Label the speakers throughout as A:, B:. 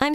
A: I'm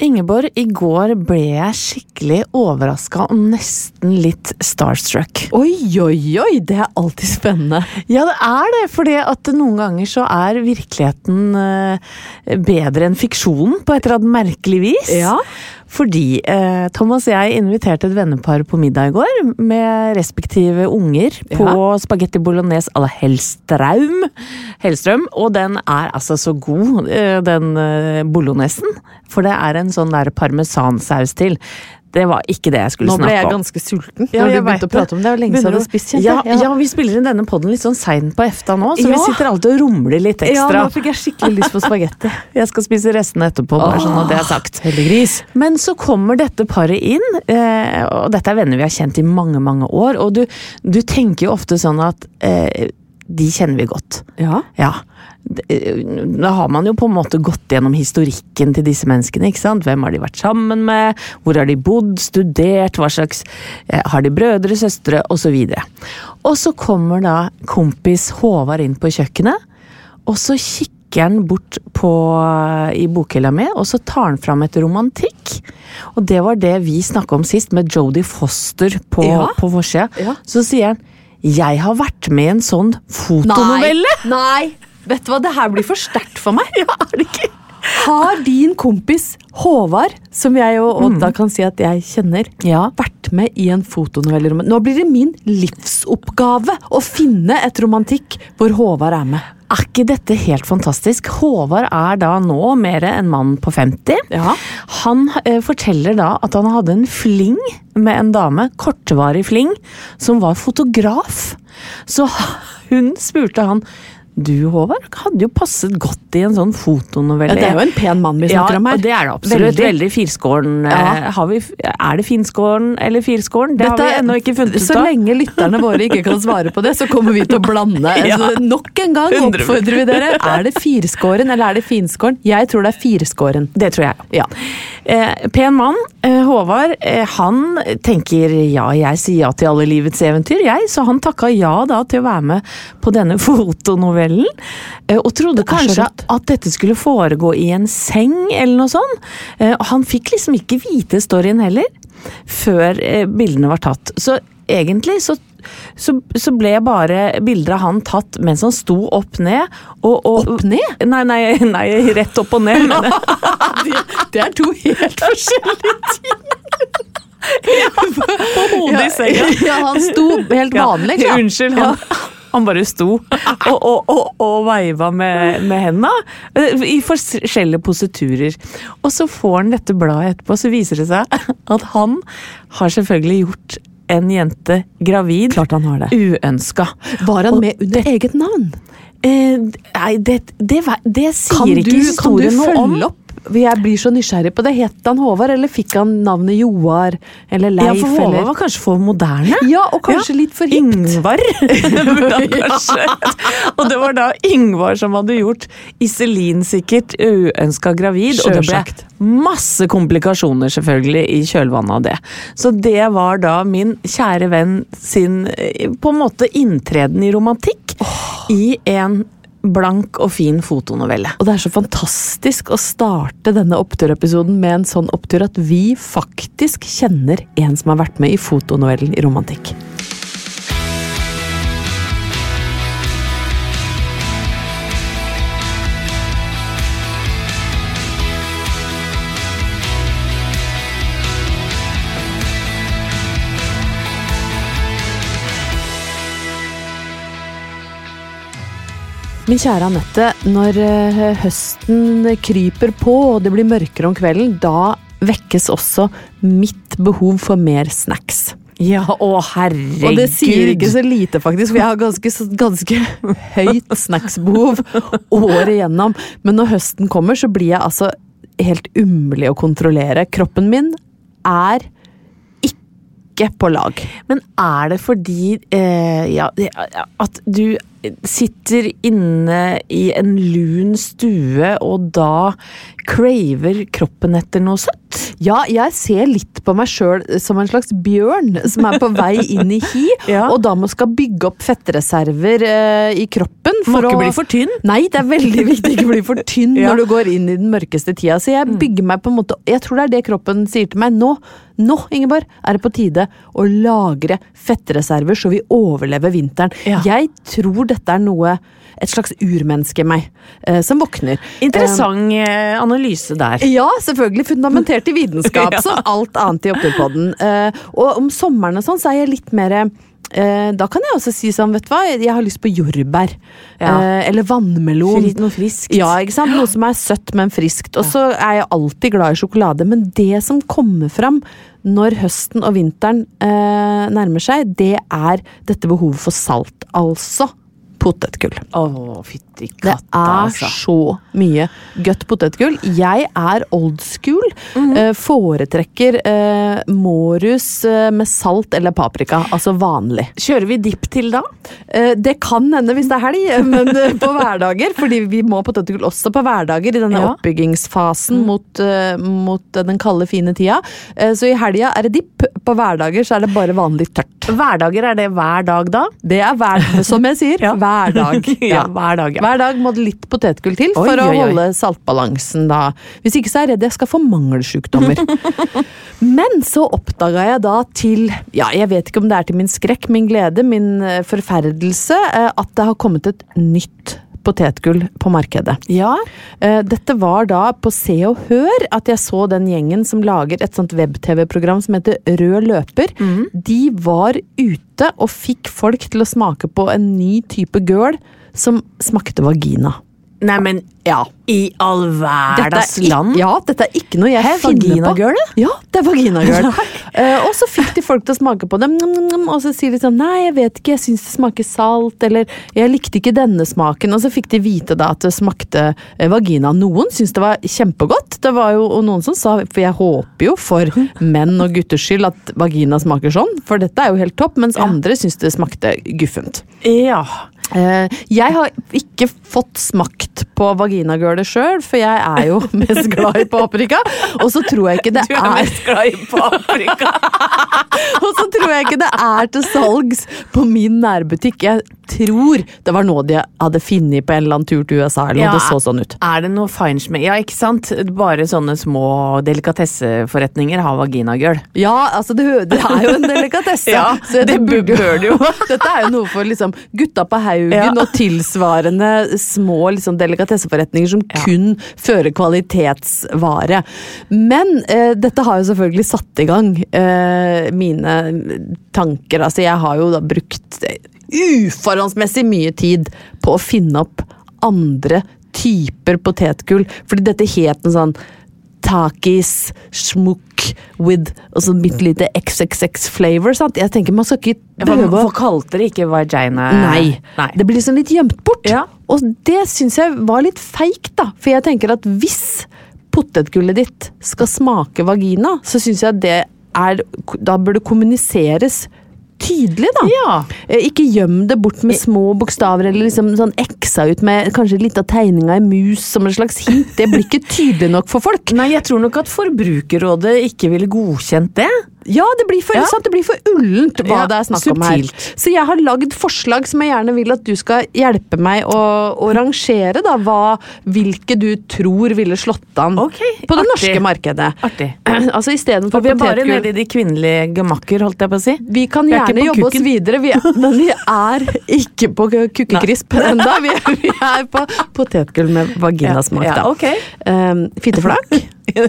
B: Ingeborg, i går ble jeg skikkelig overraska og nesten litt starstruck.
C: Oi, oi, oi! Det er alltid spennende.
B: Ja, det er det, fordi at noen ganger så er virkeligheten eh, bedre enn fiksjonen på et eller annet merkelig vis.
C: Ja.
B: Fordi eh, Thomas og jeg inviterte et vennepar på middag i går med respektive unger på spagetti bolognese à la Hellstraum. Hellstrøm. Og den er altså så god, eh, den eh, bolognesen. For det er en sånn der parmesansaus til. Det var ikke det jeg skulle
C: Nå ble
B: snakke
C: jeg
B: om.
C: ganske sulten.
B: Ja,
C: når du
B: jeg
C: begynte
B: vet
C: å prate om det. Det er jo lenge siden jeg
B: Begynner
C: hadde
B: å-
C: spist. kjente
B: Ja,
C: jeg.
B: ja, vi spiller inn denne podden litt sånn sein på efta nå, så vi
C: Ja.
B: sitter alltid og rumler litt
C: Ja,
B: ekstra.
C: nå fikk jeg skikkelig lyst på spagetti.
B: Jeg skal spise restene etterpå, bare sånn at det er sagt.
C: Heldiggris.
B: Men så kommer dette paret inn, eh, og dette er venner vi har kjent i mange, mange år, og du, du tenker jo ofte sånn at eh, de kjenner vi godt.
C: Ja.
B: Ja. Det- eh, Da har man jo på en måte gått gjennom historikken til disse menneskene. ikke sant? Hvem har de vært sammen med? Hvor har de bodd? Studert? Hva slags eh, Har de brødre, søstre? Og så videre. Og så kommer da kompis Håvard inn på kjøkkenet, og så kikker han bort på, i bokhylla mi, og så tar han fram et romantikk. Og det var det vi snakka om sist, med Jodie Foster på,
C: Ja.
B: på forsida.
C: Ja.
B: Så sier han 'Jeg har vært med i en sånn fotonovelle'.
C: Nei! Vet du hva, det her blir for sterkt for meg. Ja, er det ikke? Har din kompis Håvard, som jeg jo og da kan si at jeg kjenner,
B: Mm. Ja.
C: vært med i en fotonovelleroman? Nå blir det min livsoppgave å finne et romantikk hvor Håvard er med.
B: Er ikke dette helt fantastisk? Håvard er da nå mer en mann på 50.
C: Ja.
B: Han eh, forteller da at han hadde en fling med en dame, kortvarig fling, som var fotograf. Så hun spurte han Du, Håvard, hadde jo passet godt i en sånn fotonovelle.
C: Ja, det er jo en pen mann vi snakker om her.
B: Ja, det er det absolutt. Veldig,
C: Veldig.
B: firskåren. eh,
C: Ja.
B: Har vi, er det finskåren eller firskåren? Det har vi ennå ikke funnet ut av.
C: Så lenge lytterne våre ikke kan svare på det, så kommer vi til å blande.
B: Ja.
C: Så nok en gang
B: 100.
C: oppfordrer vi dere. Er det firskåren eller er det finskåren? Jeg tror det er firskåren.
B: Det tror jeg.
C: Ja.
B: Eh, pen mann, eh, Håvard, eh, han tenker ja, jeg sier ja til alle livets eventyr, jeg. Så han takka ja da til å være med på denne fotonovellen. Eh, og trodde
C: er så
B: kanskje
C: rått.
B: at dette skulle foregå i en seng eller noe sånt. Eh, og han fikk liksom ikke vite storyen heller, før eh, bildene var tatt. Så egentlig så, så, så ble bare bilder av han tatt mens han sto opp ned. Og, og,
C: Opp ned?
B: Nei, nei, nei, rett opp og ned. Men,
C: Det er to helt forskjellige ting. På
B: hodet i senga.
C: Ja, han liksom. sto helt
B: Ja,
C: vanlig. ikke sant?
B: Unnskyld, han, han bare sto og, og, og, og veiva med, med henda eh, i forskjellige positurer. Og så får han dette bladet etterpå, så viser det seg at han har selvfølgelig gjort en jente gravid.
C: Klart han har det.
B: Uønska.
C: Var
B: Og
C: han med under eget navn?
B: Eh, nei, det, det, ve- det sier
C: Kan du,
B: ikke
C: kan du
B: historien noe om.
C: følge opp Jeg blir så nysgjerrig på det. Het han Håvard, eller fikk han navnet Joar? Eller
B: Ja,
C: Leif?
B: for Håvard
C: eller?
B: var kanskje for moderne.
C: Ja, og kanskje litt for hipt.
B: Ingvar. burde han kanskje hett. Og det var da Ingvar som hadde gjort Iselin sikkert uønska gravid.
C: Sjølsagt.
B: Og det ble masse komplikasjoner selvfølgelig i kjølvannet av det. Så det var da min kjære venn sin eh, på en måte inntreden i romantikk i en blank og fin fotonovelle.
C: Og det er så fantastisk å starte denne oppturepisoden med en sånn opptur at vi faktisk kjenner en som har vært med i fotonovellen i romantikk. Min kjære Anette, når eh, høsten kryper på og det blir mørkere om kvelden, da vekkes også mitt behov for mer snacks.
B: Ja, å herregud!
C: Og det sier ikke så lite, faktisk, for jeg har ganske, ganske høyt snacksbehov året igjennom. Men når høsten kommer, så blir jeg altså helt umulig å kontrollere. Kroppen min er ikke på lag.
B: Men er det fordi eh, ja, det- at du sitter inne i en lun stue, og da craver kroppen etter noe søtt?
C: Ja, jeg ser litt på meg sjøl som en slags bjørn som er på vei inn i hi,
B: Ja.
C: og da må skal bygge opp fettreserver eh, i kroppen.
B: Må ikke bli for tynn.
C: Nei, det er veldig viktig ikke bli for tynn
B: Ja. Mm.
C: når du går inn i den mørkeste tida. Så jeg bygger meg på en måte Jeg tror det er det kroppen sier til meg. Nå, nå Ingeborg, er det på tide å lagre fettreserver så vi overlever vinteren.
B: Ja.
C: Jeg tror dette er noe Et slags urmenneske i meg eh, som våkner.
B: Interessant eh, analyse der.
C: Ja, selvfølgelig. Fundamentert i vitenskap, som alt annet i Oppturpodden. Eh, og om sommeren og sånn, så er jeg litt mer eh, Da kan jeg også si sånn, vet du hva, jeg har lyst på jordbær.
B: Ja.
C: eh, eller vannmelon.
B: Fri- noe friskt.
C: Ja, ikke sant? Noe som er søtt, men friskt. Og så er jeg alltid glad i sjokolade, men det som kommer fram når høsten og vinteren eh, nærmer seg, det er dette behovet for salt. Altså potetgull.
B: Å, fytti
C: Det
B: katta,
C: er
B: altså.
C: så mye godt potetgull. Jeg er old school.
B: Mhm.
C: eh, foretrekker eh, Morus eh, med salt eller paprika, altså vanlig.
B: Kjører vi dipp til da?
C: Eh, det kan hende hvis det er helg, men eh, på hverdager. Fordi vi må ha potetgull også på hverdager i denne
B: Ja. Mm.
C: oppbyggingsfasen mot, eh, mot eh, den kalde, fine tida. Eh, så i helga er det dipp, på hverdager så er det bare vanlig tørt.
B: Hverdager er det hver dag da?
C: Det er hver, som jeg sier,
B: Ja.
C: hver dag.
B: Ja, hver dag, ja.
C: Hver dag må det litt potetgull til
B: Oi,
C: for å
B: oi, oi.
C: holde saltbalansen, da. Hvis ikke så er jeg redd jeg skal få mangelsykdommer. Men så oppdaga jeg da til Ja, jeg vet ikke om det er til min skrekk, min glede, min eh, forferdelse, eh, at det har kommet et nytt potetgull på markedet.
B: Ja.
C: Eh, Dette var da på Se og Hør at jeg så den gjengen som lager et sånt web-TV-program som heter Rød løper.
B: Mm.
C: De var ute og fikk folk til å smake på en ny type gøl som smakte vagina.
B: Nei, men ja. i all hverdags
C: Dette er ikk-
B: land.
C: Ja, dette er ikke noe jeg
B: Hæ,
C: finner på.
B: vaginagøl, det?
C: Ja, det er vaginagøl. Eh, og så fikk de folk til å smake på det, mm, mm, mm, og så sier de sånn Nei, jeg vet ikke, jeg syns det smaker salt, eller jeg likte ikke denne smaken. Og så fikk de vite da at det smakte eh, vagina. Noen syntes det var kjempegodt, det var jo og noen som sa For jeg håper jo for menn og gutters skyld at vagina smaker sånn, for dette er jo helt topp, mens andre syns det smakte guffent.
B: Ja.
C: Eh, jeg har ikke fått smakt på vaginagølet sjøl, for jeg er jo mest glad i paprika. Og så tror jeg ikke det
B: Du er
C: er,
B: mest glad i paprika.
C: og så tror jeg ikke det er til salgs på min nærbutikk. Jeg tror det var noe de hadde funnet på en eller annen tur til USA. eller noe,
B: Ja.
C: det så sånn ut.
B: Er det noe feinschmeck Ja, ikke sant? Bare sånne små delikatesseforretninger har vaginagøl.
C: Ja, altså det, hø- det er jo en delikatesse.
B: Ja,
C: så
B: det
C: burde
B: bør det jo.
C: Dette er jo noe for liksom, gutta på Haugen
B: Ja.
C: og tilsvarende små liksom, delikatesseforretninger som kun fører kvalitetsvare. Men eh, dette har jo selvfølgelig satt i gang eh, mine tanker. Altså, jeg har jo da brukt eh, uforholdsmessig mye tid på å finne opp andre typer potetgull, fordi dette het en sånn Takis, smokk with Og så bitte lite XXX-flavor. sant? Jeg tenker Man skal ikke prøve å
B: Hvorfor kalte dere ikke vagina
C: Nei.
B: Eh, Nei.
C: Det blir liksom litt gjemt bort.
B: Ja.
C: Og det syns jeg var litt feigt, da. For jeg tenker at hvis pot potetgullet ditt skal smake vagina, så syns jeg det er Da bør det kommuniseres tydelig, da.
B: Ja. Eh.
C: Eh, Ikke gjem det bort med små bokstaver eller liksom sånn eksa ut med kanskje litt av tegninga i mus som en slags hint. Det blir ikke tydelig nok for folk.
B: Nei, jeg tror nok at Forbrukerrådet ikke ville godkjent det.
C: Ja, det blir for,
B: Ja.
C: Sant? Det blir for ullent hva
B: Ja,
C: det er snakk om her.
B: subtilt.
C: Så jeg har lagd forslag som jeg gjerne vil at du skal hjelpe meg å, å rangere. Da, hva, hvilke du tror ville slått an
B: Ok,
C: på det
B: artig.
C: norske markedet.
B: Artig.
C: Altså
B: For
C: istedenfor
B: vi er bare
C: potetgull
B: nede i de kvinnelige gemakker, holdt jeg på å si.
C: vi kan
B: Vi er
C: gjerne
B: ikke på
C: jobbe oss
B: kukken.
C: videre. Vi er, men vi er ikke på kukkekrisp ennå. Vi, er- vi er på potetgull med vaginasmak,
B: Ja,
C: da.
B: ja, ok.
C: Ehm, fitteflak?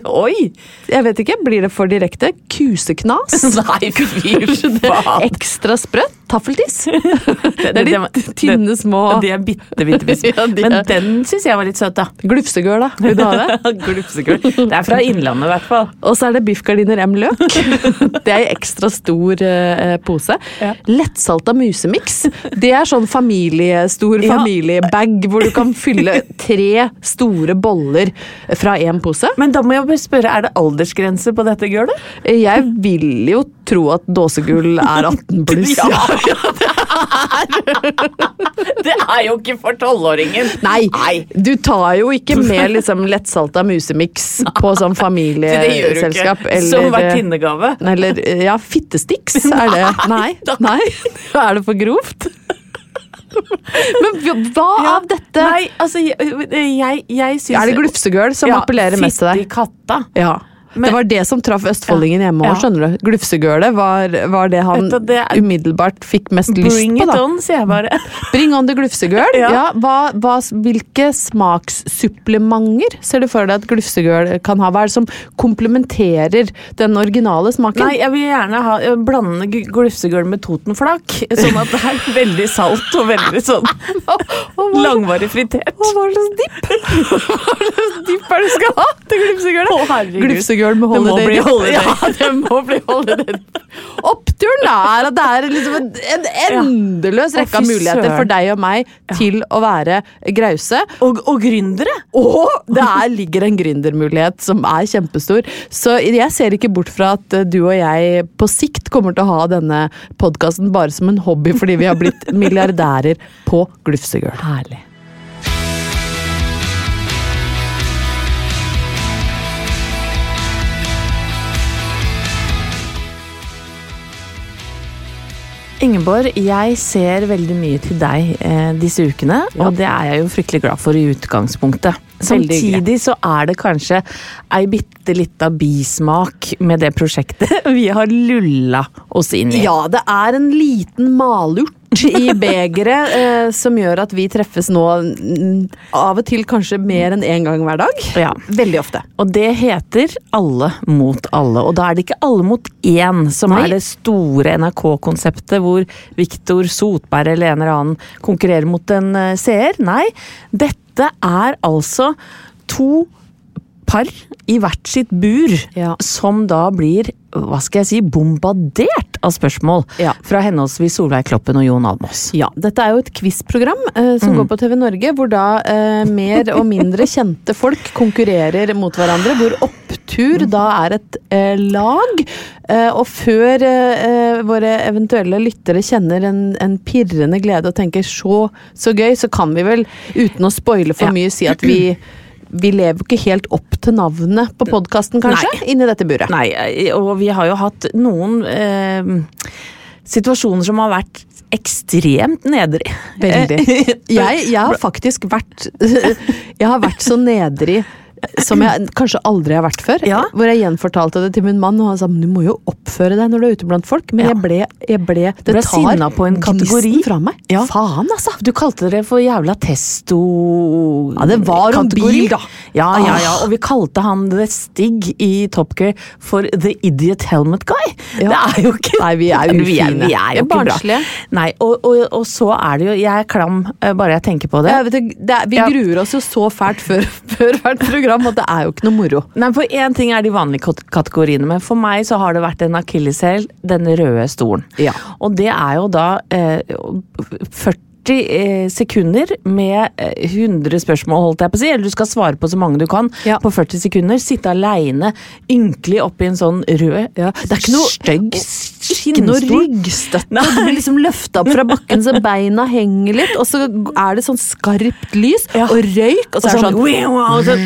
B: Oi!
C: Jeg vet ikke. Blir det for direkte? Kuseknas?
B: Nei, fy faen.
C: Ekstra sprøtt? Taffeltiss? Det
B: det-
C: er de
B: det-
C: tynne, små
B: De er bitte, bitte, bitte.
C: Ja, de
B: Men
C: er-
B: den syns jeg var litt søt, da.
C: Glufsegøl, da. Vil du ha det?
B: Glufsekull. Det er fra Innlandet, i hvert fall.
C: Og så er det biffgardiner M løk. Det er i ekstra stor eh, pose.
B: Ja.
C: Lettsalta musemiks. Det er sånn familie, stor
B: Ja.
C: familiebag hvor du kan fylle tre store boller fra én pose.
B: Men da må jeg bare spørre, er det aldersgrense på dette gulvet?
C: Jeg vil jo tro at dåsegull er 18 pluss.
B: Ja, Det er jo ikke for tolvåringen!
C: Nei, du tar jo ikke med liksom, lettsalta musemiks på sånn
B: Eh,
C: familieselskap.
B: Som
C: eller- eh,
B: vertinnegave.
C: Eller eh, ja, fittestiks er det. Nei, nei. Er det for grovt? Men hv- hva av dette
B: Nei, altså, jeg, jeg, jeg syns
C: er det glufsegøl som appellerer mest til
B: Fitt i
C: deg?
B: katta.
C: Ja.
B: Men-
C: det var det som traff østfoldingen hjemme òg,
B: Ja.
C: skjønner du. Glufsegølet var, var det han
B: Vet du, det er-
C: umiddelbart fikk mest
B: Bring
C: lyst på,
B: it
C: da.
B: on, sier jeg bare.
C: Bring on the glufsegøl.
B: Ja.
C: Ja. hva, hva, hvilke smakssupplementer ser du for deg at glufsegøl kan ha? Hva er det som komplementerer den originale smaken?
B: Nei, jeg vil gjerne ha, eh, blande gu- glufsegøl med totenflak. Sånn at det er veldig salt og veldig sånn langvarig fritert.
C: Å, hva slags dipp? Hva slags dipp er det du skal ha til glufsegølet?
B: Å, herregud.
C: Glufsegøl med
B: Det må
C: holiday
B: bli
C: dip.
B: holiday.
C: Ja, det må bli holiday dip. Oppturen da er at det er liksom en, en endeløs
B: Å,
C: rekke av
B: fy
C: muligheter
B: søren.
C: for deg og meg til å være grause.
B: Og, og gründere!
C: Og det er, ligger en gründermulighet som er kjempestor. Så jeg ser ikke bort fra at eh, du og jeg på sikt kommer til å ha denne podkasten bare som en hobby fordi vi har blitt milliardærer på glufsegøl. Herlig.
B: Ingeborg, jeg ser veldig mye til deg eh, disse ukene, og det er jeg jo fryktelig glad for i utgangspunktet.
C: Veldig hyggelig.
B: Samtidig så er det kanskje ei bitte lita bismak med det prosjektet vi har lulla oss inn i.
C: Ja, det er en liten malurt i begeret eh, som gjør at vi treffes nå mm, av og til kanskje mer enn én gang hver dag.
B: Ja.
C: Veldig ofte.
B: Og det heter Alle mot alle. Og da er det ikke Alle mot én som
C: Nei.
B: er det store NRK-konseptet hvor Viktor Sotberg eller en eller annen konkurrerer mot en eh, seer. Nei, dette er altså to par i hvert sitt bur
C: Ja.
B: som da blir hva skal jeg si, bombardert av spørsmål
C: Ja.
B: fra henholdsvis Solveig Kloppen og Jon Almaas.
C: Ja, dette er jo et quizprogram eh,
B: Mm.
C: som går på TV Norge, hvor da eh, mer og mindre kjente folk konkurrerer mot hverandre, hvor opptur da er et eh, lag. Eh, og før eh, eh, våre eventuelle lyttere kjenner en, en pirrende glede og tenker så, så gøy, så kan vi vel, uten å spoile for
B: Ja.
C: mye, si at vi vi lever jo ikke helt opp til navnet på podkasten, kanskje, inni dette buret.
B: Nei, eh, og vi har jo hatt noen eh, situasjoner som har vært ekstremt nedrig.
C: Veldig. Jeg, Eh, jeg har faktisk vært Jeg har vært så nedrig som jeg kanskje aldri har vært før.
B: Ja.
C: Hvor jeg gjenfortalte det til min mann, og han sa men du må jo oppføre deg når du er ute blant folk. Men
B: Ja.
C: jeg ble, jeg ble Det
B: Ble
C: tar
B: sinna på en kategori.
C: gnisten fra meg.
B: Ja.
C: Faen, altså!
B: Du kalte dere for jævla testo...
C: Ja, det var om bil, da.
B: Ja, ja, ja. Og vi kalte han The Stig i Top Gear for The Idiot Helmet Guy. Det
C: Ja.
B: er jo ikke
C: Nei, vi er
B: Vi er,
C: ufine.
B: vi er jo
C: Vi er
B: ikke bra.
C: barnslige.
B: Nei, og, og, og så er det jo Jeg er klam eh, bare jeg tenker på det.
C: Jeg vet, ikke, det, er- vi
B: Ja.
C: gruer oss jo så fælt før, før hvert program, og det er jo ikke noe moro.
B: Nei, for Én ting er de vanlige kat- kategoriene, men for meg så har det vært en akilleshæl, den røde stolen.
C: Ja.
B: Og det er jo da eh, 40 40 eh, sekunder med eh, 100 spørsmål, holdt jeg på å si. Eller du skal svare på så mange du kan
C: Ja.
B: på 40 sekunder. Sitte aleine, ynkelig oppi en sånn rød,
C: Ja, det er ikke noe-
B: stygg
C: Ikke noe
B: skinnstol.
C: ryggstøtte.
B: Nei.
C: Du blir liksom løfta opp fra bakken så beina henger litt, og så er det sånn skarpt lys
B: Ja.
C: og røyk, og så er det sånn
B: og så-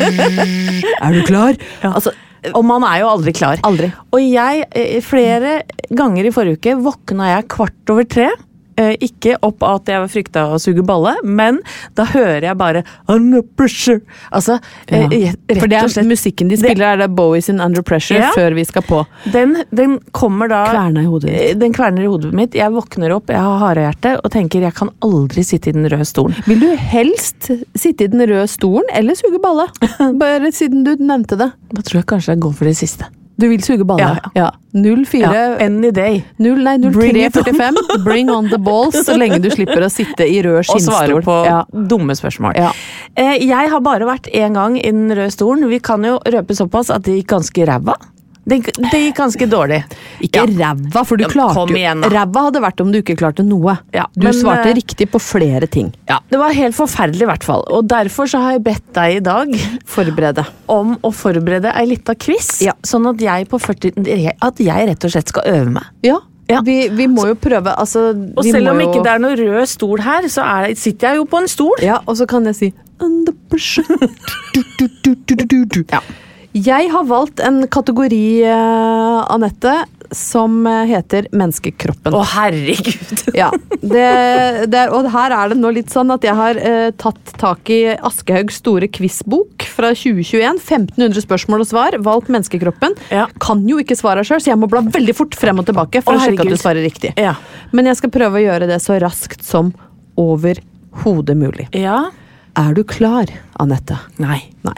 C: Er du klar? Altså,
B: Og man er jo aldri klar.
C: Aldri.
B: Og jeg, eh, flere ganger i forrige uke, våkna jeg kvart over tre. Eh, Ikke opp av at jeg frykta å suge balle, men da hører jeg bare Under pressure. Altså, eh,
C: ja.
B: rett
C: For det
B: og
C: er
B: slett
C: musikken de spiller, er det Bowie sin 'Under Pressure'
B: Ja.
C: før vi skal på.
B: Den, den kommer da
C: Kverna i hodet ditt.
B: Eh, Den kverner i hodet mitt. Jeg våkner opp, jeg har harehjerte og tenker jeg kan aldri sitte i den røde stolen.
C: Vil du helst sitte i den røde stolen eller suge balle? Bare siden du nevnte det.
B: Da tror jeg kanskje jeg går for det siste.
C: Du vil suge balle?
B: Ja,
C: ja. 04
B: Any day.
C: Null, nei,
B: Bring it on.
C: 0345. Bring on the balls, så lenge du slipper å sitte i rød
B: og svarer
C: skinnstol.
B: på
C: Ja.
B: dumme spørsmål.
C: Ja.
B: Eh, jeg har bare vært én gang i den røde stolen. Vi kan jo røpe såpass at det gikk ganske ræva. Det, gikk- det gikk ganske dårlig.
C: Ikke
B: Ja.
C: ræva, for du
B: Ja,
C: klarte
B: kom
C: jo-
B: igjen, da.
C: Ræva hadde vært om du ikke klarte noe.
B: Ja,
C: du
B: men,
C: svarte
B: eh,
C: riktig på flere ting.
B: Ja, det var helt forferdelig, i hvert fall. Og derfor så har jeg bedt deg i dag
C: Forberede.
B: om å forberede ei lita quiz,
C: Ja.
B: sånn at jeg på 40 At jeg rett og slett skal øve meg.
C: Ja,
B: Ja.
C: Vi, vi må jo prøve, altså
B: Og selv om ikke det er noen rød stol her, så er, sitter jeg jo på en stol.
C: Ja, og så kan jeg si Under pressure du, du, du, du, du, du, du. Jeg har valgt en kategori, eh, Anette, som eh, heter menneskekroppen.
B: Å, herregud!
C: Ja, det, det er, og her er det nå litt sånn at jeg har eh, tatt tak i Aschehougs store quizbok fra 2021. 1500 spørsmål og svar, valgt menneskekroppen.
B: Ja.
C: Kan jo ikke svara sjøl, så jeg må bla veldig fort frem og tilbake for
B: Å,
C: å sjekke at
B: herregud.
C: du svarer riktig.
B: Ja.
C: Men jeg skal prøve å gjøre det så raskt som overhodet mulig.
B: Ja.
C: Er du klar, Anette?
B: Nei.
C: Nei.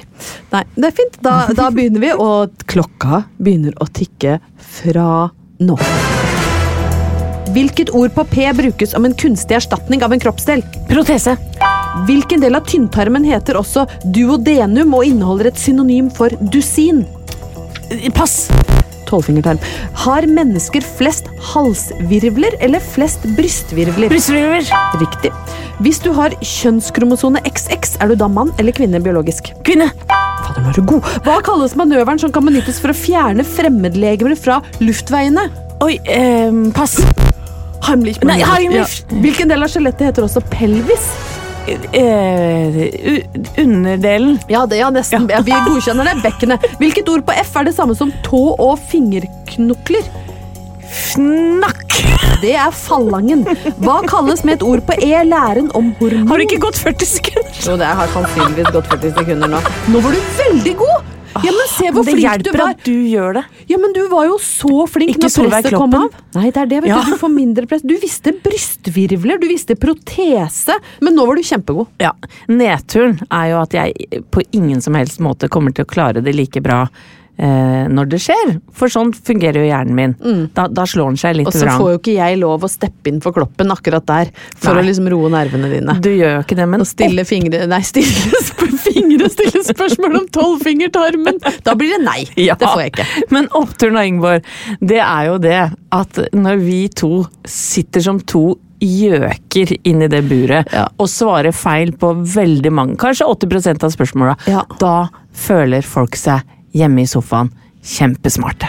C: Nei. Det er fint. Da, da begynner vi, og klokka begynner å tikke fra nå. Hvilket ord på P brukes om en kunstig erstatning av en kroppsdel?
B: Protese.
C: Hvilken del av tynntarmen heter også duodenum og inneholder et synonym for dusin?
B: Pass.
C: Tolvfingertarm. Har mennesker flest halsvirvler eller flest brystvirvler?
B: Brystfriver.
C: Riktig. Hvis du har kjønnskromosone XX, er du da mann eller kvinne biologisk?
B: Kvinne.
C: Fader, nå er du god. Hva kalles manøveren som kan benyttes for å fjerne fremmedlegemer fra luftveiene?
B: Oi, ehm, pass. Nei, Heimlich.
C: Ja. Hvilken del av skjelettet heter også pelvis?
B: Eh, u- underdelen.
C: Ja, det, ja nesten. Ja. Vi godkjenner det. Bekkenet. Hvilket ord på F er det samme som tå og fingerknokler?
B: Fnakk!
C: Det er fallangen. Hva kalles med et ord på E læren om hormon?
B: Har det ikke gått 40 sekunder?
C: Jo, det har sannsynligvis gått 40 sekunder nå. Nå var du veldig god! Ja, men se hvor
B: det
C: flink du
B: hjelper
C: var.
B: at du gjør det.
C: Ja, men du var jo så flink
B: Ikke
C: når
B: Solveig
C: presset kom
B: Kloppen.
C: av. Nei, det er det, vet
B: Ja.
C: du. Du får mindre press. Du visste brystvirvler, du visste protese, men nå var du kjempegod.
B: Ja, Nedturen er jo at jeg på ingen som helst måte kommer til å klare det like bra eh, når det skjer. For sånn fungerer jo hjernen min. Da, da slår den seg litt
C: Mm. Og så
B: vrang.
C: får jo ikke jeg lov å steppe inn for kloppen akkurat der, for
B: Nei.
C: å liksom roe nervene dine.
B: Du gjør jo ikke det, men
C: Og stille fingre Nei, stille sp- fingre stille spørsmål om tolvfingertarmen! Da blir det nei.
B: Ja.
C: Det får jeg ikke.
B: Men oppturen av Ingeborg, det er jo det at når vi to sitter som to gjøker inni det buret
C: Ja.
B: og svarer feil på veldig mange, kanskje 80 av spørsmåla,
C: Ja.
B: da føler folk seg hjemme i sofaen kjempesmarte.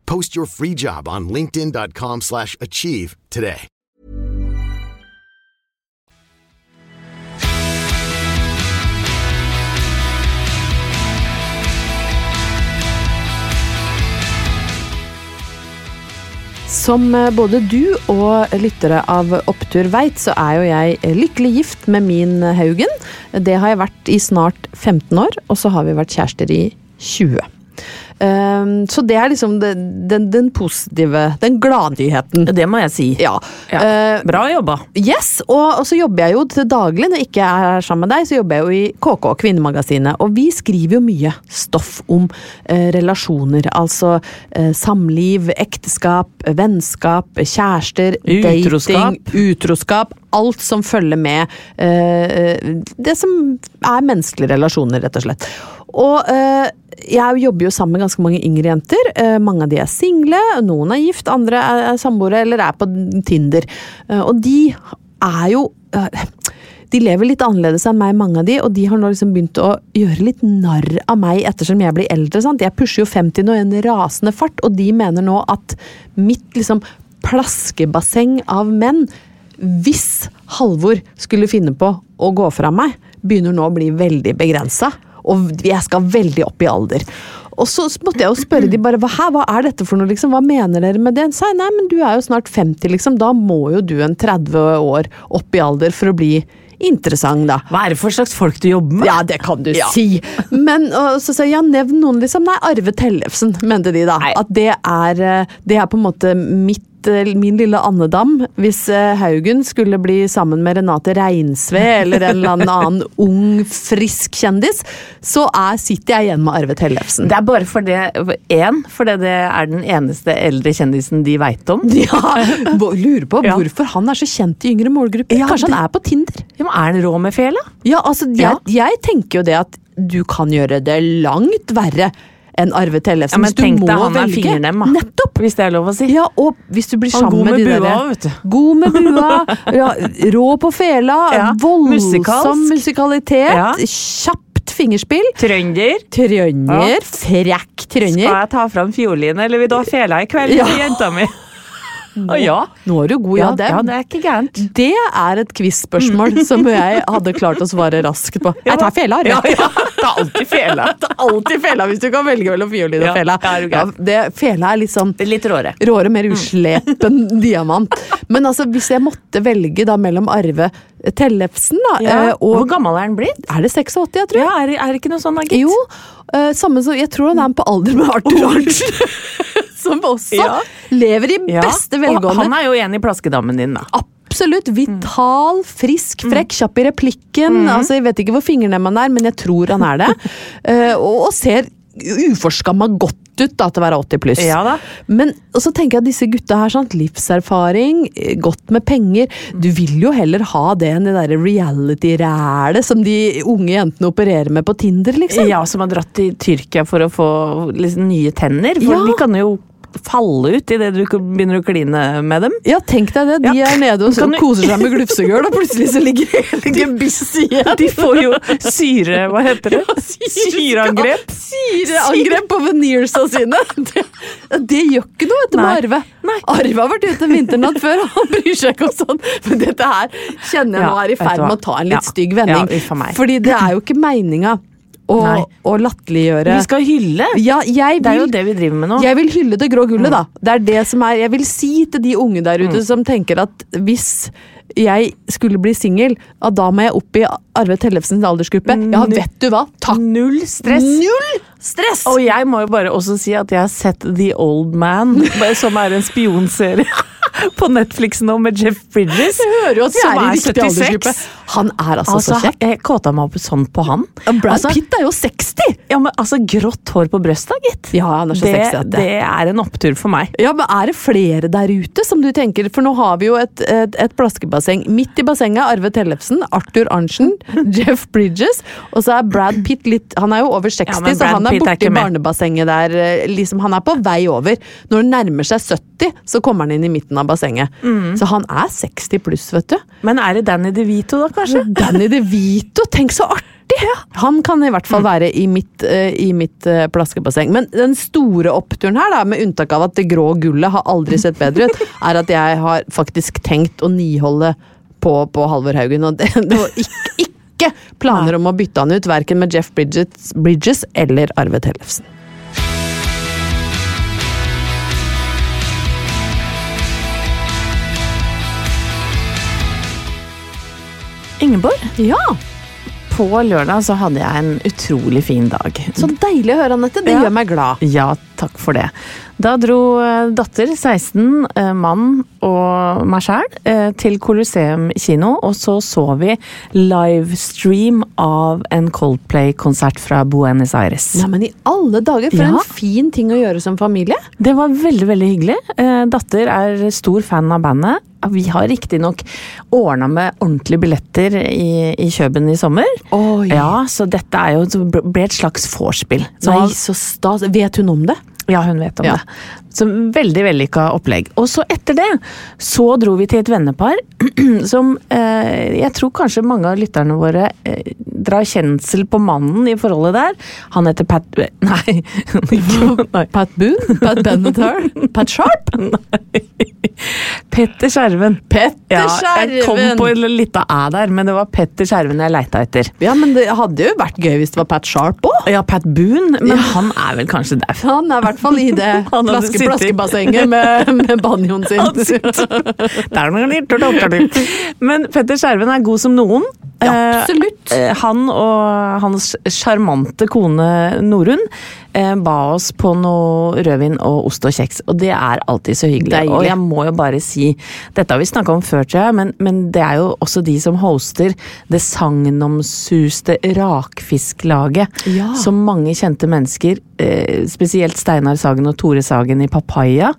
D: Post your free job on linkedin.com/achieve slash achieve today.
C: Som eh, både du og lyttere av Opptur veit, så er jo jeg eh, lykkelig gift med min eh, Haugen. Det har jeg vært i snart 15 år, og så har vi vært kjærester i 20. Ehm, så det er liksom den, den, den positive, den gladnyheten.
B: Det må jeg si.
C: Ja.
B: Ja.
C: Eh,
B: Bra jobba.
C: Yes, og, og så jobber jeg jo til daglig når jeg ikke er her sammen med deg, så jobber jeg jo i KK, Kvinnemagasinet. Og vi skriver jo mye stoff om eh, relasjoner. Altså eh, samliv, ekteskap, vennskap, kjærester,
B: Utroskap.
C: dating, utroskap. Alt som følger med eh, det som er menneskelige relasjoner, rett og slett. Og eh, jeg jobber jo sammen med ganske mange yngre jenter. Eh, mange av de er single, noen er gift, andre er, er samboere eller er på Tinder. Eh, og de er jo eh, de lever litt annerledes enn meg, mange av de, og de har nå liksom begynt å gjøre litt narr av meg ettersom jeg blir eldre. sant? Jeg pusher jo 50 nå i en rasende fart, og de mener nå at mitt liksom plaskebasseng av menn, hvis Halvor skulle finne på å gå fra meg, begynner nå å bli veldig begrensa. Og jeg skal veldig opp i alder. Og så måtte jeg jo spørre de bare, hva, hæ, hva er dette for noe, liksom? hva mener dere med det? Sa jeg, nei, men du er jo snart 50, liksom. da må jo du en 30 år opp i alder for å bli interessant, da.
B: Hva er det for slags folk du jobber med?
C: Ja, det kan du si. Men og så sa jeg, ja, nevn noen, liksom. Nei, Arve Tellefsen, mente de da. At det er, eh, det er på en måte mitt eh, Min lille andedam, hvis eh, Haugen skulle bli sammen med Renate Reinsve eller en eller annen ung, frisk kjendis, så er, sitter jeg igjen med Arve Tellefsen.
B: Det er bare for det én, fordi det er den eneste eldre kjendisen de veit om.
C: Ja, hvor- Lurer på
B: Ja.
C: hvorfor han er så kjent i yngre målgrupper.
B: Ja,
C: Kanskje han
B: det-
C: er på Tinder?
B: Ja, men er han rå med fela?
C: Ja, altså,
B: Ja.
C: jeg, jeg tenker jo det at du kan gjøre det langt verre enn Arve Tellefsen.
B: Ja, men
C: hvis du
B: tenk
C: må
B: deg han er
C: velge.
B: fingernem, da.
C: Nettopp!
B: Hvis det er lov å si.
C: Ja, og hvis du blir
B: Han
C: sammen
B: god
C: med,
B: med
C: de
B: bua,
C: derre-
B: vet du.
C: God med bua, ja, rå på fela,
B: Ja,
C: voldsom
B: musikalsk.
C: musikalitet,
B: Ja.
C: kjapt fingerspill.
B: Trønder.
C: Trønder,
B: Ja.
C: frekk
B: Skal
C: trønder.
B: jeg ta fram fiolin, eller vil du ha fela i kveld,
C: Ja.
B: sier jenta mi? Å ja.
C: Nå er du god, ja,
B: ja,
C: dem.
B: det er ikke gærent.
C: Det er et quiz-spørsmål som jeg hadde klart å svare raskt på. Jeg tar fela, Arve.
B: Mm. Ja, ja. Ta alltid fela.
C: Ta alltid fela hvis du kan velge mellom fiolin og
B: Ja,
C: fela.
B: ja, er du gæren.
C: det, fela er litt sånn
B: Det er litt råere. Mm.
C: råere, mer uslepen diamant. Men altså, hvis jeg måtte velge da mellom Arve Tellefsen da, eh,
B: Hvor
C: og
B: gammel er han blitt?
C: Er det 86, jeg tror?
B: Ja, er, det- er det ikke noe sånn, da, gitt?
C: Jo, eh, samme som, jeg tror han er på alder med Arthur Arntzen. Som også
B: Ja.
C: lever i
B: Ja.
C: beste
B: Og
C: velgående.
B: Han er jo en i plaskedammen din, da.
C: Absolutt. Vital, frisk, frekk, kjapp i replikken.
B: Mhm.
C: Altså, Jeg vet ikke hvor fingernemmen er, men jeg tror han er det. Eh, og, og ser uforskamma godt ut da, til å være 80 pluss.
B: Ja da.
C: Men og så tenker jeg at disse gutta her, sant? livserfaring, eh, godt med penger Du vil jo heller ha det enn det derre reality-rælet som de unge jentene opererer med på Tinder, liksom.
B: Ja, som har dratt til Tyrkia for å få liksom, nye tenner. For
C: Ja.
B: de kan jo falle ut idet du begynner å kline med dem.
C: Ja, tenk deg det. De
B: Ja.
C: er nede og,
B: Kan du-
C: og koser seg med glufsegøl, og plutselig så ligger hele gebisset igjen.
B: De får jo syre... Hva heter det? Syreangrep.
C: Syreangrep på veneersa sine! Det, det gjør ikke noe vet du, med
B: Nei.
C: Arve. Arve har vært ute en vinternatt før, og han bryr seg ikke om sånn. Men dette her kjenner jeg
B: Ja,
C: nå er i
B: vet du
C: ferd med
B: hva?
C: å ta en litt
B: Ja.
C: stygg vending.
B: Ja, uff a meg.
C: fordi det er jo ikke meninga. og,
B: Nei.
C: og latterliggjøre.
B: Vi skal hylle!
C: Ja, jeg vil,
B: Det er jo det vi driver med nå. Mm.
C: Jeg vil hylle det grå gullet, da. Det er det som er Jeg vil si til de unge der ute som tenker at hvis jeg skulle bli singel, at da må jeg opp i Arve Tellefsens aldersgruppe. Ja,
B: Mm.
C: vet du hva! Takk!
B: Null stress!
C: Null stress!
B: Og jeg må jo bare også si at jeg har sett The Old Man, bare som er en spionserie på Netflix nå med Jeff Bridges.
C: Jeg hører jo at vi
B: som
C: er i riktig aldersgruppe. Han er altså,
B: Altså,
C: så kjekk.
B: jeg kåta meg opp sånn på han.
C: Brad
B: altså,
C: Pitt er jo 60!
B: Ja, men altså, Grått hår på brøsta, gitt.
C: Ja, han er så
B: det,
C: sexy at det
B: det er en opptur for meg.
C: Ja, men Er det flere der ute som du tenker? For nå har vi jo et, et, et plaskebasseng. Midt i bassenget Arve Tellefsen, Arthur Arntzen, Jeff Bridges. Og så er Brad Pitt litt Han er jo over 60,
B: Ja, men
C: så
B: Brad
C: han er
B: Pitt er
C: borti
B: ikke med.
C: barnebassenget der. eh, Liksom, han er på vei over. Når han nærmer seg 70, så kommer han inn i midten av bassenget. Så han er 60 pluss, vet du.
B: Men er det Danny DeVito, da, kanskje?
C: Danny DeVito, tenk så artig! Han kan i hvert fall være i mitt, eh, i mitt eh, plaskebasseng. Men den store oppturen her, da, med unntak av at det grå gullet har aldri sett bedre ut, er at jeg har faktisk tenkt å niholde på, på Halvor Haugen. Og det, det var ikke, ikke planer om å bytte han ut, verken med Jeff Bridges, Bridges eller Arve Tellefsen.
B: Ingeborg?
C: Ja,
B: På lørdag så hadde jeg en utrolig fin dag.
C: så deilig å høre, Anette. Det
B: Ja.
C: gjør meg glad.
B: Ja, takk for det. Da dro eh, datter, 16, eh, mann og meg sjæl eh, til Colosseum kino, og så så vi livestream av en Coldplay-konsert fra Buenos Aires.
C: Ja, men i alle dager, for
B: Ja.
C: en fin ting å gjøre som familie.
B: Det var veldig, veldig hyggelig. Eh, Datter er stor fan av bandet. Vi har riktignok ordna med ordentlige billetter i, i Kjøben i sommer.
C: Oi.
B: Ja, Så dette er jo, det ble et slags vorspiel. Så
C: Nei, så stas. Vet hun om det?
B: Ja, hun vet om
C: Ja.
B: det. Så Veldig vellykka opplegg. Og så etter det så dro vi til et vennepar som eh, jeg tror kanskje mange av lytterne våre eh, drar kjensel på mannen i forholdet der. Han heter Pat Nei. ikke- nei.
C: Pat Boone? Pat Benatar? Pat Sharp?
B: Petter Skjerven.
C: Petter
B: Jeg kom
C: Skjerven!
B: på en lita æ der, men det var Petter Skjerven jeg leita etter.
C: Ja, men det hadde jo vært gøy hvis det var Pat Sharp òg.
B: Ja, Pat Boone, men han er vel kanskje der.
C: Han er i hvert fall i det
B: Han hadde
C: plaske,
B: sittet-
C: plaskebassenget med, med banjoen sin.
B: Han sitter- Der er noe litt, der er noe litt. Men Petter Skjerven er god som noen.
C: Ja, absolutt.
B: Eh, eh, Han og hans sjarmante kone Norun eh, ba oss på noe rødvin og ost og kjeks, og det er alltid så hyggelig.
C: Deilig.
B: Og jeg må jo bare si, dette har vi snakka om før, tror jeg, men, men det er jo også de som hoster det sagnomsuste rakfisklaget
C: Ja.
B: som mange kjente mennesker, eh, spesielt Steinar Sagen og Tore Sagen i Papaya,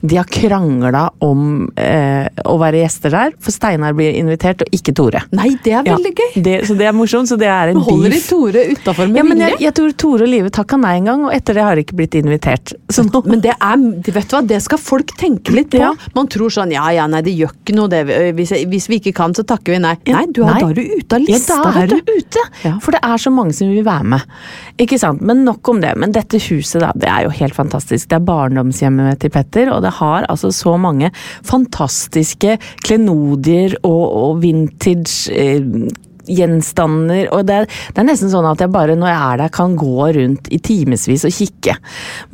B: de har krangla om eh, å være gjester der, for Steinar blir invitert, og ikke Tore.
C: Nei, det er veldig
B: Ja,
C: gøy.
B: Det, så det er morsomt, så det er en
C: Holder de
B: beef.
C: Tore utafor med
B: Ja, men
C: vilje?
B: jeg, jeg tror Tore og Live takka nei en gang, og etter det har de ikke blitt invitert. Så nå,
C: Men det er, vet du hva, det skal folk tenke litt på.
B: Ja.
C: Man tror sånn ja ja, nei det gjør ikke noe det. Hvis, jeg, hvis vi ikke kan, så takker vi nei. Nei, du er,
B: Nei.
C: da er du ute av
B: ja,
C: lista.
B: da er
C: vet
B: du
C: du.
B: ute!
C: Ja.
B: For det er så mange som vil være med. Ikke sant? Men nok om det. Men dette huset, da, det er jo helt fantastisk. Det er barndomshjemmet til Petter, og det har altså så mange fantastiske klenodier og, og vintage eh, gjenstander, og det er, det er nesten sånn at jeg bare når jeg er der kan gå rundt i timevis og kikke.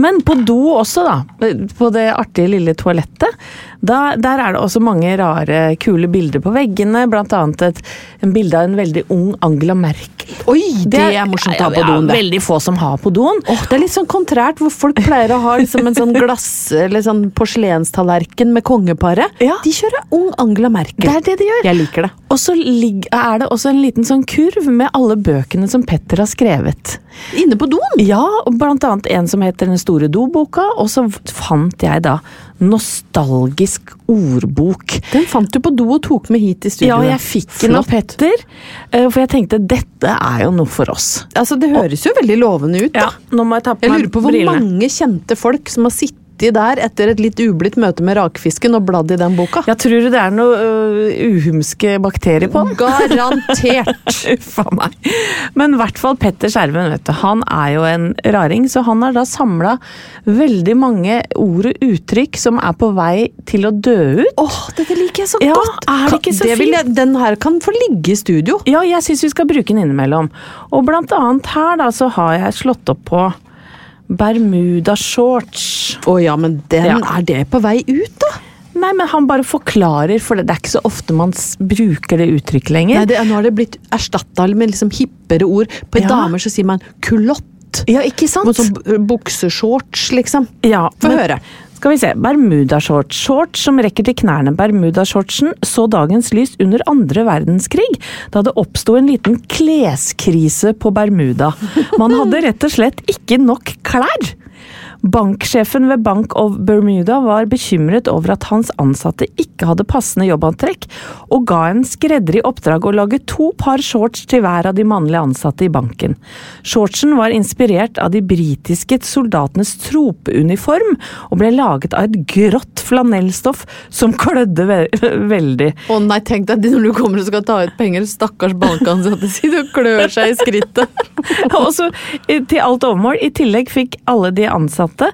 B: Men på do også, da. På det artige lille toalettet. Da, der er det også mange rare, kule bilder på veggene. Blant annet et en bilde av en veldig ung Angela Merkel.
C: Oi, det, er morsomt å ha på
B: ja,
C: doen, det.
B: Veldig få som har på doen.
C: Åh, det er litt sånn kontrært, hvor folk pleier å ha liksom en sånn glass- eller sånn porselenstallerken med kongeparet.
B: Ja.
C: De kjører ung Angela Merkel.
B: Det er det de gjør.
C: Jeg liker det.
B: Og så ligg- er det også en liten sånn kurv med alle bøkene som Petter har skrevet.
C: Inne på doen!
B: Ja, og blant annet en som heter Den store doboka, og så f- fant jeg da Nostalgisk ordbok.
C: Den fant du på do og tok med hit i studio.
B: Ja, og jeg fikk den av
C: Flott.
B: Petter, eh, for jeg tenkte dette er jo noe for oss.
C: Altså, det høres jo veldig lovende ut, da.
B: nå må jeg ta på
C: Jeg
B: meg
C: lurer på hvor
B: brillene.
C: mange kjente folk som har sittet uti der etter et litt ublidt møte med rakfisken og bladd i den boka.
B: Jeg tror det er noe øh, uhumske bakterier på den.
C: Garantert!
B: Uff a meg. Men i hvert fall Petter Skjerven, vet du. Han er jo en raring, så han har da samla veldig mange ord og uttrykk som er på vei til å dø ut.
C: Åh, dette liker jeg så
B: Ja,
C: godt!
B: er det
C: Kan-
B: ikke så
C: vil jeg, den her kan få ligge i studio.
B: Ja, jeg syns vi skal bruke den innimellom. Og blant annet her da, så har jeg slått opp på Bermuda-shorts.
C: Å ja, men den
B: Ja.
C: er det på vei ut, da?
B: Nei, men han bare forklarer, for det det er ikke så ofte man s- bruker det uttrykket lenger.
C: Nei, det, nå har det blitt erstatta med liksom hippere ord. På
B: Ja.
C: damer så sier man kulott.
B: Ja, ikke sant?
C: Mot sånn b- bukseshorts, liksom.
B: Ja,
C: Få
B: men-
C: høre.
B: Skal vi se. Bermudashorts. Shorts som rekker til knærne. Bermudashortsen så dagens lys under andre verdenskrig, da det oppsto en liten kleskrise på Bermuda. Man hadde rett og slett ikke nok klær. Banksjefen ved Bank of Bermuda var bekymret over at hans ansatte ikke hadde passende jobbantrekk, og ga en skredder i oppdrag å lage to par shorts til hver av de mannlige ansatte i banken. Shortsen var inspirert av de britiske soldatenes tropeuniform, og ble laget av et grått flanellstoff som klødde ve veldig.
C: Å nei, tenk deg når du kommer og skal ta ut penger, stakkars bankansatte sier og klør seg i skrittet.
B: Og så, eh, til alt overmål, i tillegg fikk alle de ansatte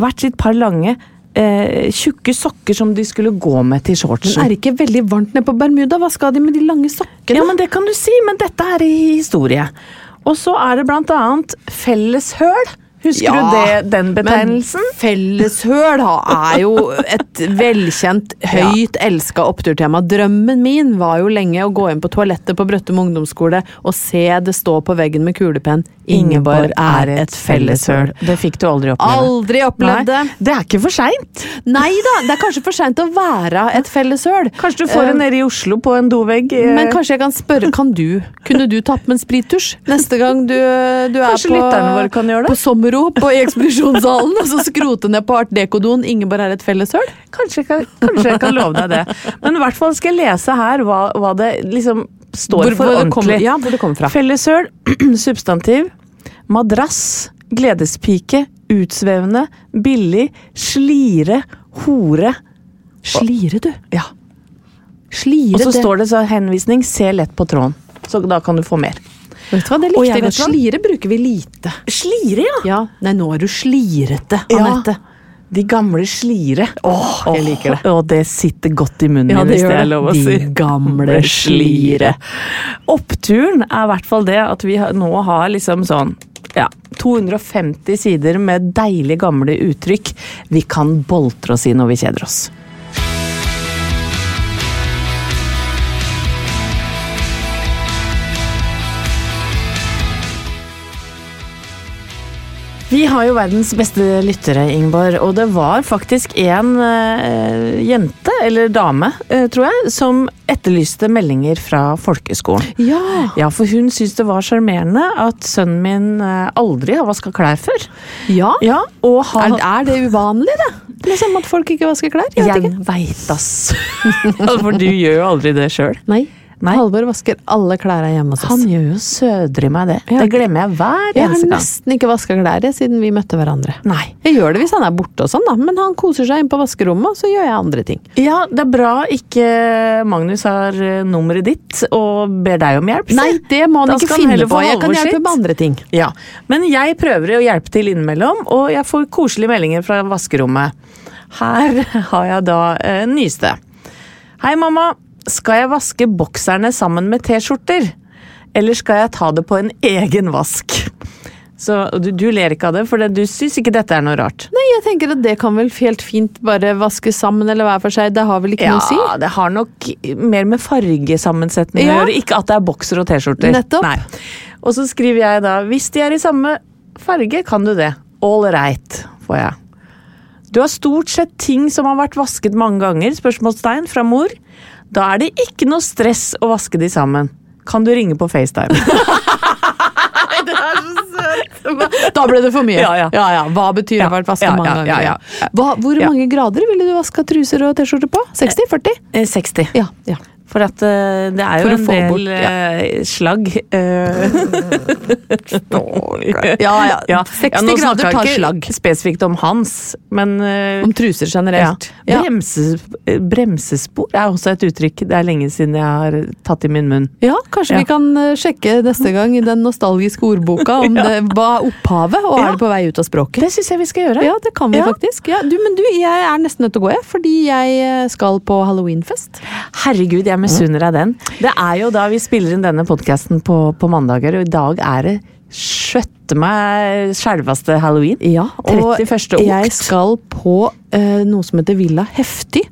B: hvert sitt par lange, eh, tjukke sokker som de skulle gå med til shortsen.
C: Men er det ikke veldig varmt nede på Bermuda? Hva skal de med de lange sokkene?
B: Ja, men det kan du si, men dette er i historie. Og så er det blant annet felleshøl. Husker du det, den betegnelsen?
C: Men felleshøl da, er jo et velkjent, høyt elska oppturtema. Drømmen min var jo lenge å gå inn på toalettet på Brøttum ungdomsskole og se det stå på veggen med kulepenn 'Ingeborg er et felleshøl'.
B: Det fikk du aldri oppleve.
C: Aldri opplevd det.
B: Nei, det er ikke for seint.
C: Nei da, det er kanskje for seint å være et felleshøl.
B: Kanskje du får det nede i Oslo på en dovegg. eh,
C: Eh. Men kanskje jeg kan spørre, kan du, kunne du tatt med en sprittusj neste gang du, du er
B: Kanskje
C: på,
B: lytterne våre kan gjøre det?
C: på sommerop og i ekspedisjonssalen, og så skrote ned på Art Deco-doen 'Ingeborg er et felleshøl'?
B: kanskje, jeg kan, kanskje jeg kan love deg det. Men i hvert fall skal jeg lese her hva, hva det liksom står
C: Hvor-
B: for
C: hvor det
B: ordentlig.
C: kommer- ja, hvor det kommer fra.
B: Felleshøl, substantiv, madrass, gledespike, utsvevende, billig, slire, hore.
C: Slire, du.
B: Ja.
C: Slire,
B: Og så
C: det.
B: står det så henvisning 'se lett på tråden'. Så da kan du få mer.
C: Vet du hva, det
B: Og
C: likte
B: jeg
C: jeg godt.
B: vet hva.
C: Slire bruker vi lite.
B: Slire,
C: Ja, Nei, nå er du slirete,
B: Ja.
C: Anette.
B: De gamle slire. Åh,
C: jeg liker det.
B: Og det sitter godt i munnen
C: Ja,
B: min,
C: det
B: hvis
C: gjør
B: det er
C: det.
B: lov å
C: De
B: si.
C: gamle slire.
B: Oppturen er i hvert fall det at vi har- nå har liksom sånn ja, 250 sider med deilige gamle uttrykk vi kan boltre oss i når vi kjeder oss. Vi har jo verdens beste lyttere, Ingeborg, og det var faktisk en eh, jente, eller dame, eh, tror jeg, som etterlyste meldinger fra folkeskolen.
C: Ja.
B: Ja, for hun syntes det var sjarmerende at sønnen min eh, aldri har vaska klær før.
C: ja.
B: Ja, og
C: Er,
B: har
C: er det uvanlig, det? Liksom at folk ikke vasker klær? Jeg vet
B: Jeg
C: ikke.
B: veit, ass! for du gjør jo aldri det sjøl.
C: Nei.
B: Nei.
C: Halvor vasker alle klærne hjemme hos oss.
B: Han gjør jo sødre i meg det.
C: Ja.
B: Det glemmer jeg hver
C: Jeg har
B: eneste gang.
C: nesten ikke vaska klær jeg, siden vi møtte hverandre.
B: Nei.
C: Jeg gjør det hvis han er borte, og sånn da, men han koser seg inn på vaskerommet, så gjør jeg andre ting.
B: Ja, det er bra ikke Magnus har eh, nummeret ditt og ber deg om hjelp. si.
C: Nei, det må han
B: Da
C: ikke
B: skal
C: finne
B: heller
C: på.
B: få
C: Jeg kan
B: Halvor
C: hjelpe
B: sitt.
C: med andre ting.
B: Ja, Men jeg prøver å hjelpe til innimellom, og jeg får koselige meldinger fra vaskerommet. Her har jeg da eh, nyeste. Hei, mamma. Skal jeg vaske bokserne sammen med T-skjorter? Eller skal jeg ta det på en egen vask? Så og du, du ler ikke av det, for det, du syns ikke dette er noe rart?
C: Nei, jeg tenker at det kan vel helt fint bare vaskes sammen eller hver for seg, det har vel ikke noe å si?
B: Ja, det har nok mer med fargesammensetning å
C: Ja.
B: gjøre. Ikke at det er bokser og T-skjorter.
C: Nettopp.
B: Nei. Og så skriver jeg da Hvis de er i samme farge, kan du det. All right, får jeg. Du har stort sett ting som har vært vasket mange ganger? Spørsmålstegn fra mor. Da er det ikke noe stress å vaske de sammen. Kan du ringe på FaceTime?
C: Da ble det for mye.
B: Ja, ja.
C: Hva betyr
B: Ja,
C: å ha vært vaska
B: ja,
C: mange
B: ja,
C: ganger?
B: ja, ja.
C: Hva, hvor
B: Ja.
C: mange grader ville du vaska truser og T-skjorte på? 60? 40?
B: Eh, 60.
C: Ja. ja.
B: For at eh, det er jo
C: For å
B: en
C: få
B: del
C: bort, ja.
B: eh, slagg. eh.
C: Ja, ja.
B: Ja.
C: 60
B: Ja, nå
C: grader
B: snakker
C: tar
B: jeg ikke
C: slag.
B: Spesifikt om hans, men eh,
C: Om truser generelt.
B: ja.
C: Ja.
B: Bremses, bremsespor er også et uttrykk. Det er lenge siden jeg har tatt i min munn.
C: Ja, kanskje
B: Ja. Mm.
C: vi kan eh, sjekke neste gang i den nostalgiske ordboka om det, hva er opphavet, og
B: Ja.
C: er det på vei ut av språket?
B: Det syns jeg vi skal gjøre.
C: Ja, det kan vi
B: Ja.
C: faktisk. Ja, du, men du, jeg er nesten nødt til å gå, jeg, fordi jeg eh, skal på halloweenfest.
B: Herregud, jeg misunner deg den. Det er jo da vi spiller inn denne podkasten på, på mandager, og i dag er det skjøtte meg skjelveste halloween.
C: Ja, og
B: 31.
C: jeg
B: okt.
C: skal på eh, noe som heter Villa Heftig,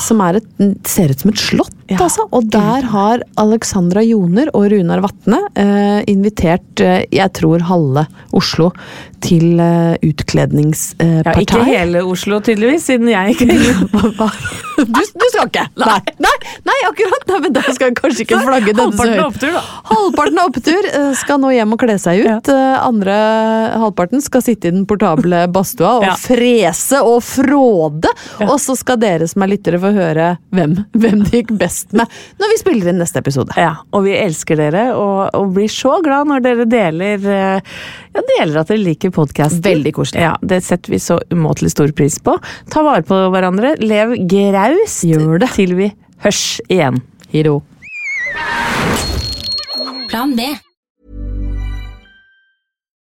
C: som er et, ser ut som et slott,
B: Ah. Ja,
C: altså. Og der har Alexandra Joner og Runar Vatne eh, invitert, eh, jeg tror, halve Oslo til
B: Ja,
C: eh, utkledningspartiet.
B: ikke hele Oslo, tydeligvis, siden jeg ikke
C: du, du skal ikke? Nei. Nei, nei akkurat. Nei, men da skal jeg kanskje ikke flagge denne så
B: Halvparten er
C: høyt.
B: opptur, da.
C: Halvparten er opptur. eh, Skal nå hjem og kle seg ut. Eh, Andre halvparten skal sitte i den portable badstua og
B: Ja.
C: frese og fråde. Og så skal dere som er lyttere få høre hvem, hvem det gikk best med når vi spiller inn neste episode.
B: Ja, og vi elsker dere og, og blir så glad når dere deler eh, Ja, deler at dere liker podkasten.
C: Veldig koselig.
B: Ja, det setter vi så umåtelig stor pris på. Ta vare på hverandre. Lev graust
C: Gjør det.
B: til vi hørs igjen.
C: Hiro.
E: Plan B.